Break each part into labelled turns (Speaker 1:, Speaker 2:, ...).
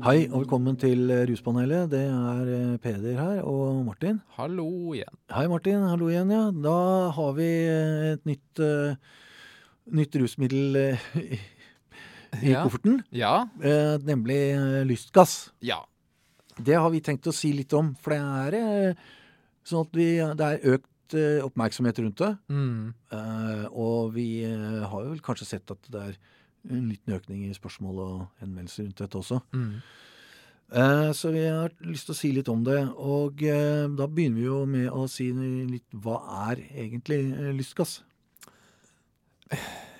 Speaker 1: Hei og velkommen til eh, Ruspanelet. Det er eh, Peder her og Martin.
Speaker 2: Hallo igjen.
Speaker 1: Hei, Martin. Hallo igjen, ja. Da har vi eh, et nytt, eh, nytt rusmiddel eh, i i
Speaker 2: Ja.
Speaker 1: kofferten,
Speaker 2: Ja.
Speaker 1: eh, nemlig eh, lystgass.
Speaker 2: Ja.
Speaker 1: Det har vi tenkt å si litt om, for det er eh, sånn at vi, det er økt eh, oppmerksomhet rundt det.
Speaker 2: Mm.
Speaker 1: Eh, og vi eh, har jo vel kanskje sett at det er en liten økning i spørsmål og henvendelser rundt dette også.
Speaker 2: Mm.
Speaker 1: Eh, Så vi har lyst til å si litt om det. Og eh, da begynner vi jo med å si litt hva er egentlig eh, lystgass?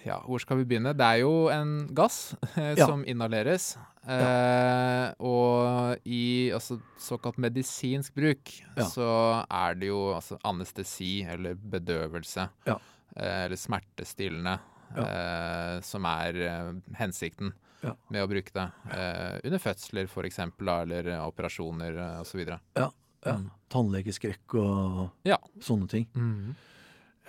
Speaker 2: ja. Hvor skal vi begynne? Det er jo en gass eh,
Speaker 1: Ja.
Speaker 2: som inhaleres. Eh, Og i altså, såkalt medisinsk bruk
Speaker 1: Ja.
Speaker 2: så er det jo altså, anestesi eller bedøvelse.
Speaker 1: Ja.
Speaker 2: Eh, eller smertestillende.
Speaker 1: Ja.
Speaker 2: Eh, som er eh, hensikten
Speaker 1: Ja.
Speaker 2: med å bruke det. Eh, under fødsler, for eksempel, da, eller eh, operasjoner eh, og så videre. Mm.
Speaker 1: Ja. Tannlegeskrekk og
Speaker 2: Ja.
Speaker 1: sånne ting.
Speaker 2: Mm.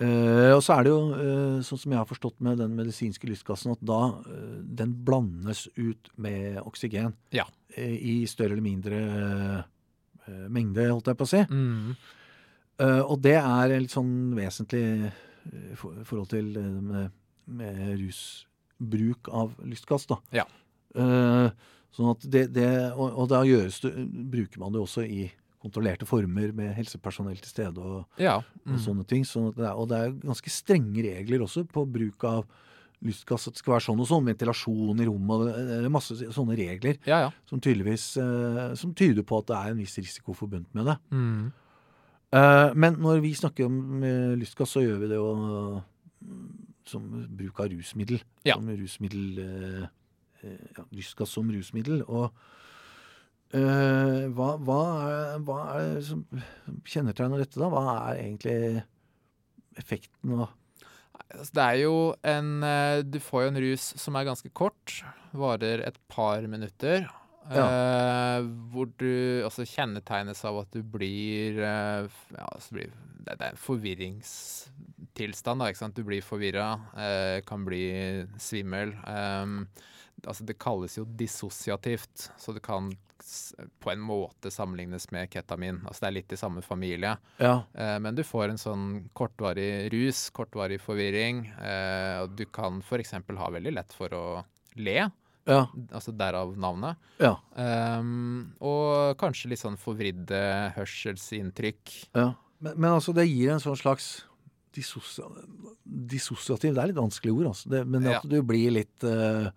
Speaker 1: Eh, og så er det jo, eh, sånn som jeg har forstått med den medisinske lystgassen, at da eh, den blandes ut med oksygen.
Speaker 2: Ja.
Speaker 1: eh, I større eller mindre eh, mengde, holdt jeg på å si.
Speaker 2: Mm.
Speaker 1: Eh, og det er litt sånn vesentlig eh, for- i forhold til eh, med, med rusbruk av lystgass, da.
Speaker 2: Ja.
Speaker 1: Eh, sånn at det, det og, og da gjøres det, bruker man det også i kontrollerte former med helsepersonell til stede og,
Speaker 2: Ja.
Speaker 1: og
Speaker 2: Mm.
Speaker 1: sånne ting. Sånn at det er, og det er ganske strenge regler også på bruk av lystgass. At det skal være sånn og sånn, ventilasjon i rommet og det det er masse sånne regler
Speaker 2: Ja, ja.
Speaker 1: som tydeligvis eh, som tyder på at det er en viss risiko forbundet med det.
Speaker 2: Mm.
Speaker 1: Eh, Men når vi snakker om eh, lystgass, så gjør vi det jo mm, som bruk av rusmiddel.
Speaker 2: Ja.
Speaker 1: Som rusmiddel eh, eh, ja, Lystgass som rusmiddel. Og eh, hva, hva, er, hva er det som kjennetegner dette, da? Hva er egentlig effekten og
Speaker 2: Altså, Det er jo en eh, Du får jo en rus som er ganske kort. Varer et par minutter. eh, hvor du altså kjennetegnes av at du blir, eh, f- ja, altså blir det, det er en forvirringstilstand, da. Ikke sant? Du blir forvirra, eh, kan bli svimmel. ehm, altså det kalles jo dissosiativt, så det kan s- på en måte sammenlignes med ketamin. Altså det er litt i samme familie.
Speaker 1: Ja.
Speaker 2: Eh, Men du får en sånn kortvarig rus, kortvarig forvirring. eh, Og du kan f.eks. ha veldig lett for å le,
Speaker 1: Ja.
Speaker 2: altså derav navnet.
Speaker 1: Ja.
Speaker 2: Ehm, og kanskje litt sånn forvridde hørselsinntrykk.
Speaker 1: ja. Men, men altså, det gir en sånn slags dissosia- dissosiativ Det er litt vanskelige ord, altså. Det, men
Speaker 2: Ja.
Speaker 1: at du blir litt eh,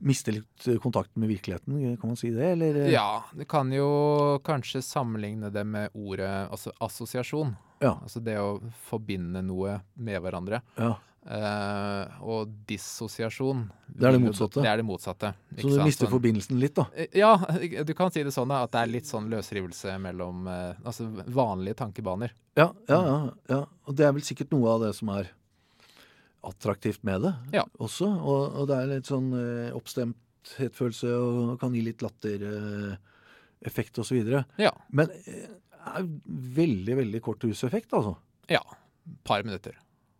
Speaker 1: Mister litt kontakten med virkeligheten, kan man si det? Eller? eh?
Speaker 2: Ja, du kan jo kanskje sammenligne det med ordet altså assosiasjon.
Speaker 1: Ja.
Speaker 2: Altså det å forbinde noe med hverandre.
Speaker 1: Ja,
Speaker 2: Eh, og dissosiasjon
Speaker 1: Det er det
Speaker 2: vil jo-
Speaker 1: motsatte.
Speaker 2: Det er det motsatte.
Speaker 1: Så
Speaker 2: ikke
Speaker 1: du
Speaker 2: sant?
Speaker 1: mister
Speaker 2: Sånn-
Speaker 1: forbindelsen litt, da.
Speaker 2: Eh, Ja, du kan si det sånn da, at det er litt sånn løsrivelse mellom eh, altså vanlige tankebaner.
Speaker 1: Ja, ja, ja, ja. Og det er vel sikkert noe av det som er attraktivt med det
Speaker 2: Ja.
Speaker 1: også. Og, og det er litt sånn eh, oppstemthetfølelse og kan gi litt lattereffekt eh, osv.
Speaker 2: Ja.
Speaker 1: Men eh, det er jo veldig, veldig kort ruseffekt, altså.
Speaker 2: Ja. Par minutter.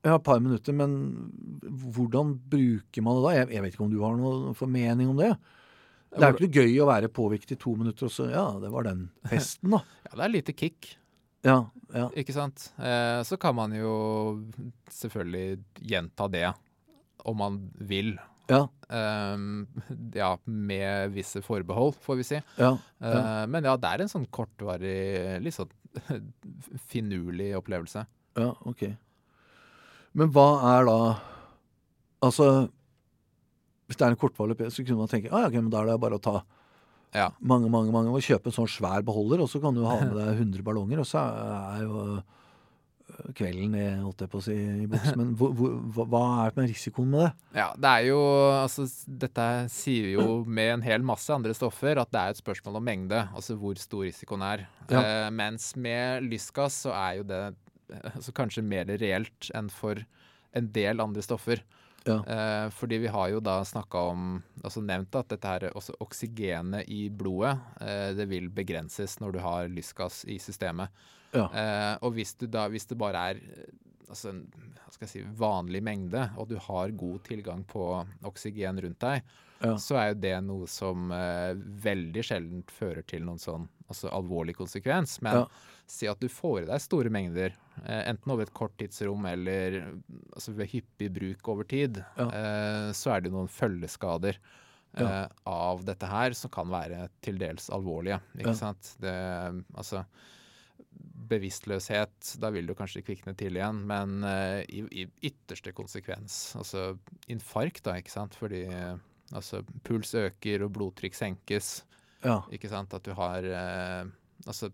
Speaker 1: Ja, et par minutter, men hvordan bruker man det da? Jeg, jeg vet ikke om du har noen formening om det? Det er jo ikke noe gøy å være påvirket i to minutter, og så ja, det var den festen, da.
Speaker 2: Ja, det er lite kick,
Speaker 1: Ja, ja.
Speaker 2: ikke sant? Eh, så kan man jo selvfølgelig gjenta det om man vil.
Speaker 1: Ja.
Speaker 2: Ehm, ja, med visse forbehold, får vi si.
Speaker 1: ja.
Speaker 2: Eh, Men ja, det er en sånn kortvarig, litt sånn finurlig opplevelse.
Speaker 1: Ja, ok. Men hva er da Altså, hvis det er en kortvarig opp- så kunne man tenke ah, ja, ok, men da er det bare å ta
Speaker 2: Ja.
Speaker 1: mange, mange, mange og kjøpe en sånn svær beholder, og så kan du ha med deg 100 ballonger, og så er jo øh, kvelden i, holdt jeg på å si, i boks. Men hvor, hvor, hva- hva er det med risikoen med det?
Speaker 2: Ja, det er jo Altså, s- dette sier vi jo med en hel masse andre stoffer at det er et spørsmål om mengde, altså hvor stor risikoen er.
Speaker 1: Ja.
Speaker 2: Eh, mens med lystgass så er jo det eh, altså kanskje mer reelt enn for en del andre stoffer.
Speaker 1: Ja.
Speaker 2: Eh, fordi vi har jo da snakka om, altså nevnt at dette her, også oksygenet i blodet, eh, det vil begrenses når du har lystgass i systemet.
Speaker 1: Ja.
Speaker 2: Eh, og hvis, du da, hvis det bare er eh, altså en hva skal jeg si, vanlig mengde, og du har god tilgang på oksygen rundt deg,
Speaker 1: Ja.
Speaker 2: så er jo det noe som eh, veldig sjelden fører til noen sånn altså alvorlig konsekvens. Men
Speaker 1: Ja.
Speaker 2: si at du får i deg store mengder, eh, enten over et kort tidsrom eller altså ved hyppig bruk over tid,
Speaker 1: Ja.
Speaker 2: eh, så er det noen følgeskader.
Speaker 1: Ja.
Speaker 2: eh, Av dette her, som kan være til dels alvorlige.
Speaker 1: Ja.
Speaker 2: Ikke sant? Det, altså, bevisstløshet, da vil du kanskje kvikne til igjen, men eh, i, i ytterste konsekvens, altså infarkt da, ikke sant, fordi eh, altså, puls øker og blodtrykk senkes,
Speaker 1: Ja.
Speaker 2: ikke sant, at du har eh, altså,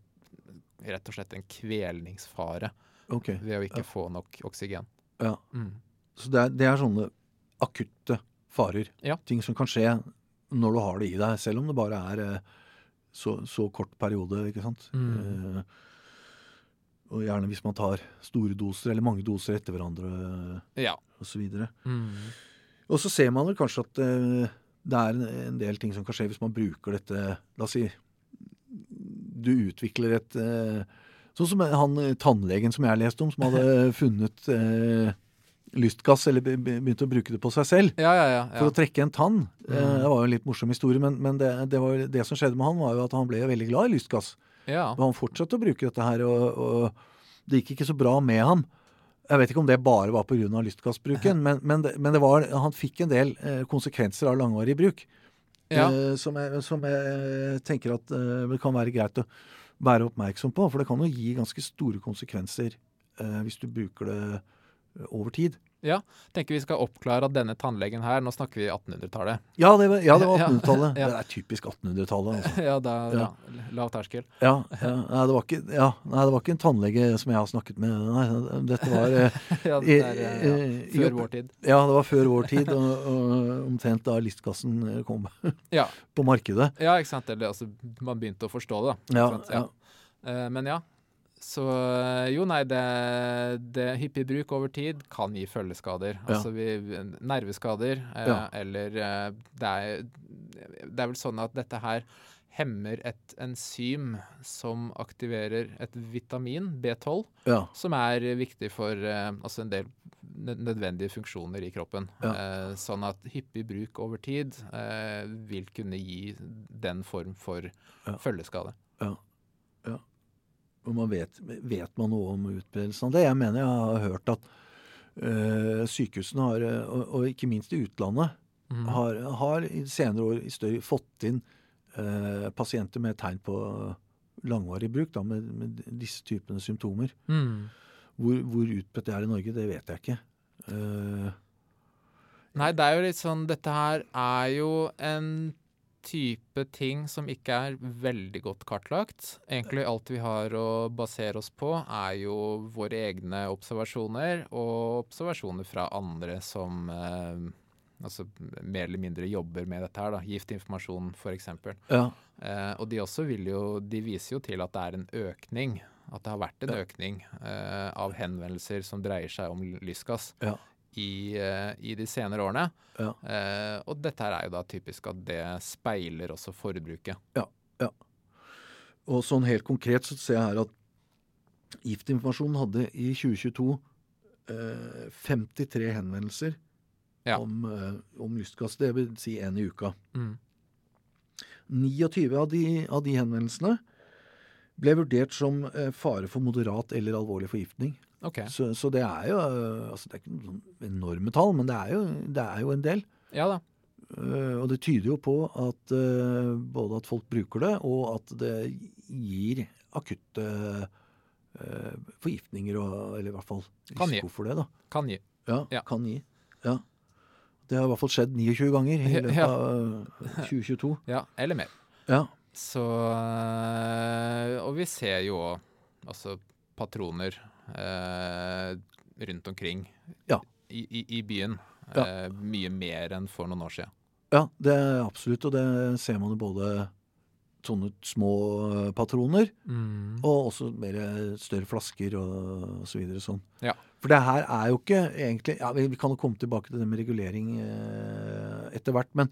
Speaker 2: rett og slett en kvelningsfare
Speaker 1: Ok.
Speaker 2: ved å
Speaker 1: Ja.
Speaker 2: ikke få nok oksygen.
Speaker 1: Ja.
Speaker 2: Mm.
Speaker 1: Så det er, det er sånne akutte farer.
Speaker 2: Ja.
Speaker 1: Ting som kan skje når du har det i deg, selv om det bare er eh, så, så kort periode, ikke sant.
Speaker 2: Mm.
Speaker 1: Eh, og gjerne hvis man tar store doser, eller mange doser etter hverandre
Speaker 2: Ja.
Speaker 1: osv. Og
Speaker 2: Mm.
Speaker 1: så ser man vel kanskje at eh, det er en, en del ting som kan skje hvis man bruker dette La oss si du utvikler et eh, Sånn som han eh, tannlegen som jeg leste om, som hadde funnet eh, lystgass, eller be- be- begynt å bruke det på seg selv
Speaker 2: Ja, ja, ja.
Speaker 1: for å trekke en tann. Eh,
Speaker 2: Mm.
Speaker 1: Det var jo en litt morsom historie, men, men det, det, var, jo- det som skjedde med han, var jo at han ble veldig glad i lystgass.
Speaker 2: ja.
Speaker 1: Og han fortsatte å bruke dette her, og, og det gikk ikke så bra med ham. Jeg vet ikke om det bare var pga. lystgassbruken, men, men, det, men det var, han fikk en del eh, konsekvenser av langvarig bruk.
Speaker 2: ja.
Speaker 1: eh, Som, jeg, som jeg tenker at eh, det kan være greit å være oppmerksom på. For det kan jo gi ganske store konsekvenser eh, hvis du bruker det eh, over tid.
Speaker 2: Tenker vi skal oppklare at denne tannlegen her, nå snakker vi 1800-tallet.
Speaker 1: Ja, det var, ja, det var
Speaker 2: Ja,
Speaker 1: 1800-tallet.
Speaker 2: ja.
Speaker 1: Det er typisk 1800-tallet. Altså.
Speaker 2: ja, da, ja.
Speaker 1: Ja.
Speaker 2: lav terskel.
Speaker 1: Ja, ja, nei, det var ikke, ja, nei, det var ikke en tannlege som jeg har snakket med. Nei, dette var eh,
Speaker 2: ja,
Speaker 1: i-
Speaker 2: det er, eh, ja.
Speaker 1: eh, i
Speaker 2: Før
Speaker 1: opp-
Speaker 2: vår tid.
Speaker 1: Ja, det var før vår tid, og, og omtrent da listgassen kom
Speaker 2: Ja.
Speaker 1: på markedet.
Speaker 2: Ja, ikke sant. Eller altså, man begynte å forstå det, da.
Speaker 1: Ja,
Speaker 2: Ikke sant?
Speaker 1: ja.
Speaker 2: Eh, Men ja. Så eh, jo, nei, det, det hyppig bruk over tid kan gi følgeskader.
Speaker 1: Ja.
Speaker 2: Altså vi, nerveskader eh,
Speaker 1: Ja.
Speaker 2: eller eh, det er, det er vel sånn at dette her hemmer et enzym som aktiverer et vitamin, B12,
Speaker 1: Ja,
Speaker 2: som er viktig for eh, altså en del nø- nødvendige funksjoner i kroppen.
Speaker 1: Ja.
Speaker 2: Eh, sånn at hyppig bruk over tid eh, vil kunne gi den form for følgeskade.
Speaker 1: og man vet, vet man noe om utbredelsen av det? Jeg mener jeg har hørt at eh, sykehusene har, eh, og, og ikke minst i utlandet,
Speaker 2: Mm.
Speaker 1: har, har i senere år i større fått inn eh, pasienter med tegn på langvarig bruk, da, med, med disse typene symptomer.
Speaker 2: Mm.
Speaker 1: Hvor, hvor utbredt det er i Norge, det vet jeg ikke. Eh,
Speaker 2: Nei, det er jo litt sånn Dette her er jo en type ting som ikke er veldig godt kartlagt. Egentlig alt vi har å basere oss på, er jo våre egne observasjoner og observasjoner fra andre som eh, altså mer eller mindre jobber med dette her, da. Giftinformasjon, f.eks.
Speaker 1: ja,
Speaker 2: Eh, og de også vil jo De viser jo til at det er en økning. At det har vært en
Speaker 1: Ja.
Speaker 2: økning eh, av henvendelser som dreier seg om lystgass
Speaker 1: Ja.
Speaker 2: i, eh, i de senere årene.
Speaker 1: Ja.
Speaker 2: Eh, og dette her er jo da typisk at det speiler også forbruket.
Speaker 1: og sånn helt konkret så ser jeg her at Giftinformasjonen hadde i 2022 eh, 53 henvendelser
Speaker 2: Ja.
Speaker 1: om, eh, om lystgass. Det vil si én i uka. 29 av de, av de henvendelsene ble vurdert som eh, fare for moderat eller alvorlig forgiftning.
Speaker 2: OK.
Speaker 1: Så, så det er jo eh, altså Det er ikke noen sånn enorme tall, men det er jo, det er jo en del.
Speaker 2: Ja da.
Speaker 1: Eh, Og det tyder jo på at eh, både at folk bruker det, og at det gir akutte eh, forgiftninger, og, eller i hvert fall
Speaker 2: Kan gi.
Speaker 1: risiko for det. da.
Speaker 2: Kan gi.
Speaker 1: Ja,
Speaker 2: Ja.
Speaker 1: Kan gi. Ja. Det har i hvert fall skjedd 29 ganger i løpet
Speaker 2: Ja.
Speaker 1: av eh, 2022.
Speaker 2: Ja, eller mer.
Speaker 1: Ja,
Speaker 2: Så eh, Og vi ser jo òg altså patroner eh, rundt omkring
Speaker 1: Ja.
Speaker 2: i, i, i byen.
Speaker 1: Ja.
Speaker 2: Eh, mye mer enn for noen år siden.
Speaker 1: ja det er absolutt, og det ser man jo både sånne små eh, patroner Og også mer eh, større flasker og så videre sånn.
Speaker 2: Ja.
Speaker 1: For det her er jo ikke egentlig ja, Vi vi kan jo komme tilbake til det med regulering eh, etter hvert. Men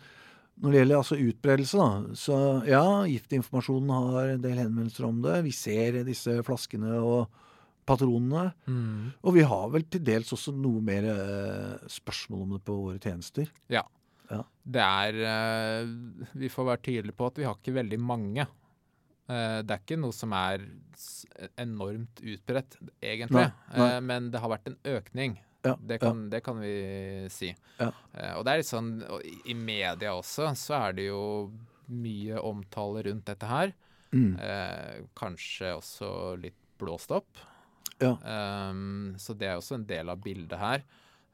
Speaker 1: når det gjelder altså utbredelse, da, så ja, giftinformasjonen har en del henvendelser om det. Vi ser disse flaskene og patronene.
Speaker 2: Mm.
Speaker 1: Og vi har vel til dels også noe mer eh, spørsmål om det på våre tjenester.
Speaker 2: Det er eh, Vi får være tydelige på at vi har ikke veldig mange. Eh, Det er ikke noe som er s- enormt utbredt, egentlig.
Speaker 1: Nei, nei.
Speaker 2: Eh, Men det har vært en økning.
Speaker 1: Ja,
Speaker 2: Det kan, det kan vi si.
Speaker 1: Ja.
Speaker 2: Eh, Og det er litt sånn og i- I media også så er det jo mye omtale rundt dette her.
Speaker 1: Mm.
Speaker 2: Eh, kanskje også litt blåst opp.
Speaker 1: Ja.
Speaker 2: Ehm, så det er også en del av bildet her.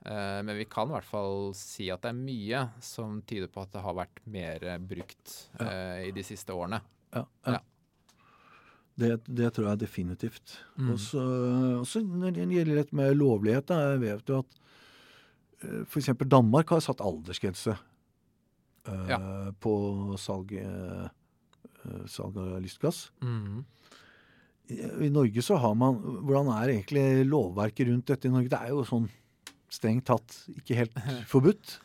Speaker 2: Eh, men vi kan i hvert fall si at det er mye som tyder på at det har vært mer eh, brukt eh, i de siste årene.
Speaker 1: Ja, ja.
Speaker 2: Ja.
Speaker 1: Det, det tror jeg definitivt.
Speaker 2: Mm.
Speaker 1: Og så og så når det gjelder dette med lovlighet, da, jeg vet jo at f.eks. Danmark har satt aldersgrense eh, på salg, eh, eh, salg av lystgass. I, I Norge så har man Hvordan er egentlig lovverket rundt dette i Norge? Det er jo sånn strengt tatt ikke helt forbudt.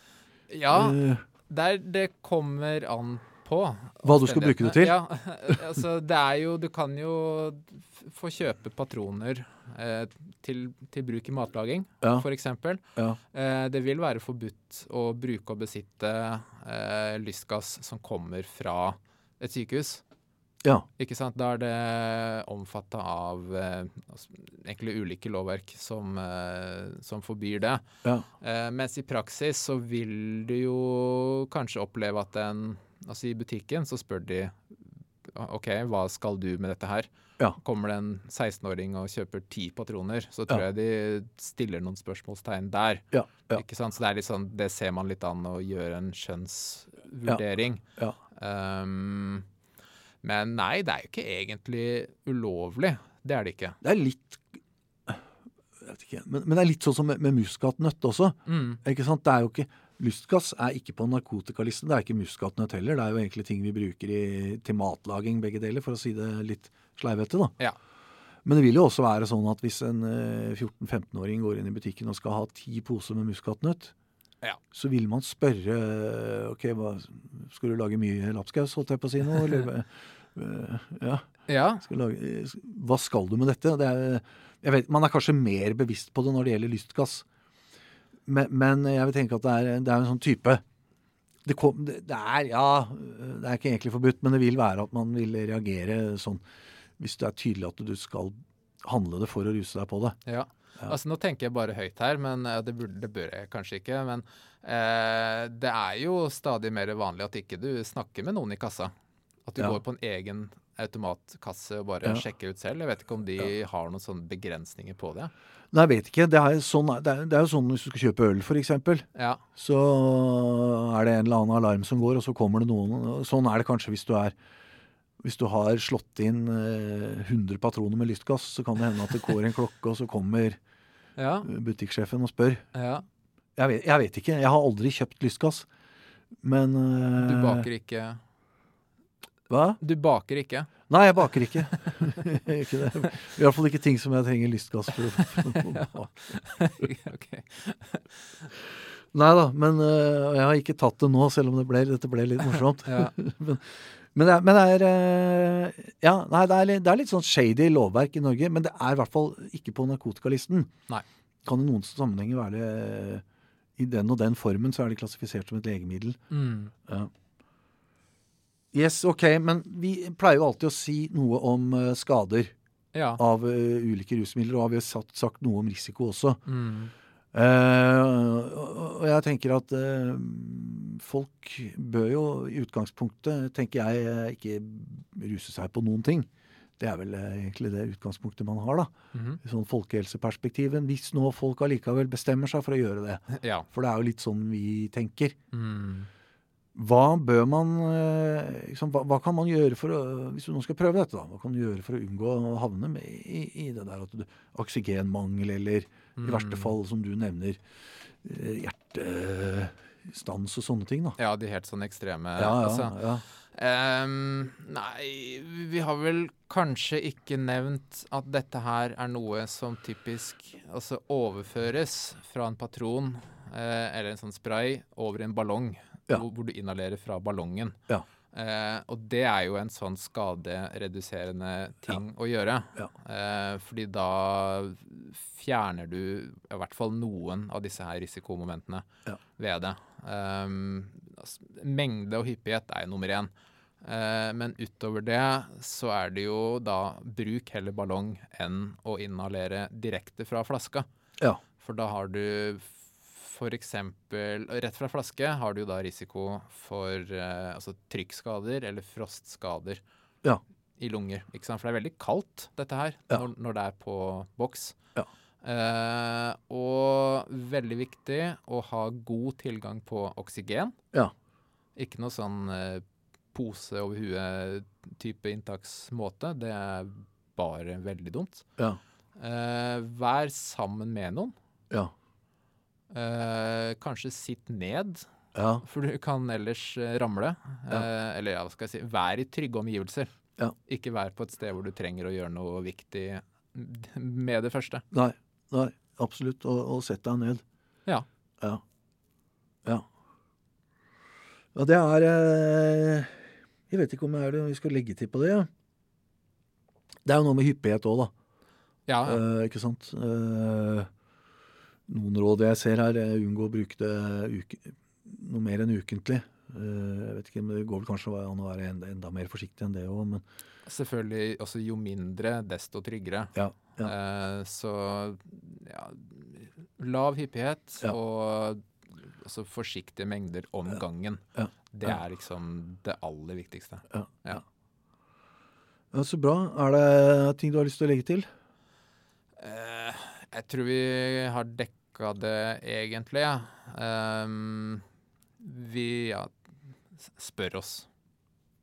Speaker 2: Ja,
Speaker 1: Eh,
Speaker 2: der det kommer an på.
Speaker 1: Hva du skal bruke det til?
Speaker 2: Ja, altså det er jo Du kan jo f- få kjøpe patroner eh, til, til bruk i matlaging,
Speaker 1: Ja.
Speaker 2: for eksempel.
Speaker 1: ja.
Speaker 2: Eh, Det vil være forbudt å bruke og besitte eh, lystgass som kommer fra et sykehus.
Speaker 1: ja.
Speaker 2: Ikke sant? Da er det omfatta av eh, altså, egentlig ulike lovverk som, eh, som forbyr det.
Speaker 1: Ja.
Speaker 2: Eh, mens i praksis så vil du jo kanskje oppleve at en Altså i butikken så spør de OK, hva skal du med dette her?
Speaker 1: Ja.
Speaker 2: Kommer det en 16-åring og kjøper ti patroner, så
Speaker 1: Ja.
Speaker 2: tror jeg de stiller noen spørsmålstegn der.
Speaker 1: Ja. Ja.
Speaker 2: Ikke sant? Så det er litt sånn, det ser man litt an å gjøre en skjønnsvurdering.
Speaker 1: Ja.
Speaker 2: Um, men nei, det er jo ikke egentlig ulovlig. Det er det ikke.
Speaker 1: Det er litt jeg vet ikke, men, men det er litt sånn som med, med muskatnøtt også.
Speaker 2: Mm.
Speaker 1: Ikke sant? Det er jo ikke, lystgass er ikke på narkotikalisten. Det er ikke muskatnøtt heller. Det er jo egentlig ting vi bruker i, til matlaging, begge deler, for å si det litt sleivete. da.
Speaker 2: Ja.
Speaker 1: Men det vil jo også være sånn at hvis en eh, 14-15-åring går inn i butikken og skal ha ti poser med muskatnøtt,
Speaker 2: Ja.
Speaker 1: så vil man spørre eh, OK, hva, skal du lage mye lapskaus, holdt jeg på å si nå? Eller, eh, ja.
Speaker 2: Ja.
Speaker 1: Skal lage, eh, hva skal du med dette? Det er, jeg vet, man er kanskje mer bevisst på det når det gjelder lystgass. Men, men jeg vil tenke at det er, det er en sånn type det, kom, det, det er ja, det er ikke egentlig forbudt, men det vil være at man vil reagere sånn hvis det er tydelig at du skal handle det for å ruse deg på det.
Speaker 2: Ja.
Speaker 1: Ja.
Speaker 2: Altså, nå tenker jeg bare høyt her, men eh, det, burde, det bør jeg kanskje ikke. Men eh, det er jo stadig mer vanlig at ikke du snakker med noen i kassa. At du
Speaker 1: Ja.
Speaker 2: går på en egen automatkasse og bare
Speaker 1: Ja.
Speaker 2: sjekker ut selv. Jeg vet ikke om de har noen sånne begrensninger på det.
Speaker 1: Nei, jeg vet ikke. Det er, sånn, det er, det er jo sånn hvis du skal kjøpe øl, for eksempel.
Speaker 2: Ja.
Speaker 1: så er det en eller annen alarm som går, og så kommer det noen. Sånn er det kanskje hvis du er hvis du har slått inn eh, 100 patroner med lystgass, så kan det hende at det går en klokke, og så kommer
Speaker 2: Ja.
Speaker 1: butikksjefen og spør.
Speaker 2: ja.
Speaker 1: Jeg vet, jeg vet ikke. Jeg har aldri kjøpt lystgass. Men
Speaker 2: Du
Speaker 1: eh,
Speaker 2: baker ikke.
Speaker 1: Hva?
Speaker 2: Du baker ikke.
Speaker 1: Nei, jeg baker ikke. ikke det. I hvert fall ikke ting som jeg trenger lystgass for. å- for å
Speaker 2: ok.
Speaker 1: Nei da, men eh, jeg har ikke tatt det nå, selv om det ble, dette ble litt morsomt.
Speaker 2: Ja.
Speaker 1: Men det er, men det er eh, Ja, nei, det er, litt- det er litt sånn shady lovverk i Norge, men det er i hvert fall ikke på narkotikalisten.
Speaker 2: Nei.
Speaker 1: Kan i noen sammenhenger være det eh, I den og den formen så er det klassifisert som et legemiddel.
Speaker 2: Mm.
Speaker 1: Yes, ok, men vi pleier jo alltid å si noe om eh, skader
Speaker 2: Ja.
Speaker 1: av eh, ulike rusmidler, og vi har sagt, sagt noe om risiko også.
Speaker 2: Mm.
Speaker 1: Eh, og og jeg tenker at eh, folk bør jo i utgangspunktet, tenker jeg, eh, ikke ruse seg på noen ting. Det er vel eh, egentlig det utgangspunktet man har, da.
Speaker 2: Mhm.
Speaker 1: I sånn folkehelseperspektivet. Hvis nå folk allikevel bestemmer seg for å gjøre det,
Speaker 2: Ja.
Speaker 1: for det er jo litt sånn vi tenker.
Speaker 2: Mm.
Speaker 1: Hva bør man eh, liksom, hva, hva kan man gjøre for å Hvis du nå skal prøve dette, da. Hva kan du gjøre for å unngå å havne med, i, i det der at du Oksygenmangel eller i verste fall, som du nevner, eh, hjertestans og sånne ting, da.
Speaker 2: Ja, de helt sånn ekstreme.
Speaker 1: Ja, ja,
Speaker 2: Altså,
Speaker 1: ja.
Speaker 2: Ehm, nei, vi har vel kanskje ikke nevnt at dette her er noe som typisk altså overføres fra en patron eh, eller en sånn spray over i en ballong,
Speaker 1: Ja.
Speaker 2: hvor, hvor du inhalerer fra ballongen.
Speaker 1: Ja.
Speaker 2: Eh, og det er jo en sånn skadereduserende ting å gjøre.
Speaker 1: Ja.
Speaker 2: Eh, fordi da fjerner du i hvert fall noen av disse her risikomomentene
Speaker 1: Ja.
Speaker 2: ved det. Um, altså, mengde og hyppighet er jo nummer én. Eh, men utover det så er det jo da bruk heller ballong enn å inhalere direkte fra flaska.
Speaker 1: Ja.
Speaker 2: For da har du f.eks. rett fra flaske har du da risiko for eh, altså trykkskader eller frostskader
Speaker 1: Ja.
Speaker 2: i lunger. Ikke sant? For det er veldig kaldt, dette her,
Speaker 1: Ja.
Speaker 2: når, når det er på boks.
Speaker 1: Ja.
Speaker 2: Eh, og veldig viktig å ha god tilgang på oksygen.
Speaker 1: Ja.
Speaker 2: Ikke noe sånn eh, pose over huet-type inntaksmåte. Det er bare veldig dumt.
Speaker 1: Ja.
Speaker 2: Eh, vær sammen med noen.
Speaker 1: Ja.
Speaker 2: Eh, kanskje sitt ned,
Speaker 1: Ja.
Speaker 2: for du kan ellers eh, ramle.
Speaker 1: Ja.
Speaker 2: Eh, eller ja, hva skal jeg si, vær i trygge omgivelser.
Speaker 1: Ja.
Speaker 2: Ikke vær på et sted hvor du trenger å gjøre noe viktig med det første.
Speaker 1: Nei. Nei. Absolutt. Og, og sett deg ned.
Speaker 2: Ja.
Speaker 1: Ja. Ja. Ja, det er eh, Jeg vet ikke om jeg er det vi skal legge til på det. ja. Det er jo noe med hyppighet òg, da.
Speaker 2: Ja, ja.
Speaker 1: Eh, ikke sant? Eh, noen råd jeg ser her, er unngå å bruke det uke, noe mer enn ukentlig. Eh, jeg vet ikke, men Det går vel kanskje an å være enda, enda mer forsiktig enn det òg, men
Speaker 2: Selvfølgelig også jo mindre, desto tryggere.
Speaker 1: ja. ja.
Speaker 2: Eh, så ja, lav hyppighet
Speaker 1: Ja.
Speaker 2: og også forsiktige mengder om gangen.
Speaker 1: Ja.
Speaker 2: Det
Speaker 1: Ja.
Speaker 2: er liksom det aller viktigste.
Speaker 1: ja. Så bra. Er det ting du har lyst til å legge til?
Speaker 2: Eh, jeg tror vi har dekka det egentlig. Ja. Ehm, vi ja, s- spør oss.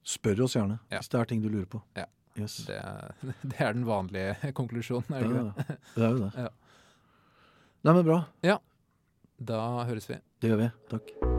Speaker 1: Spør oss gjerne
Speaker 2: Ja.
Speaker 1: hvis det er ting du lurer på.
Speaker 2: Ja.
Speaker 1: Yes.
Speaker 2: Det, det er den vanlige konklusjonen, er det ikke det?
Speaker 1: Ja, ja. det er jo det.
Speaker 2: Ja.
Speaker 1: Nei, men bra.
Speaker 2: Da høres vi.
Speaker 1: Det gjør vi. Takk.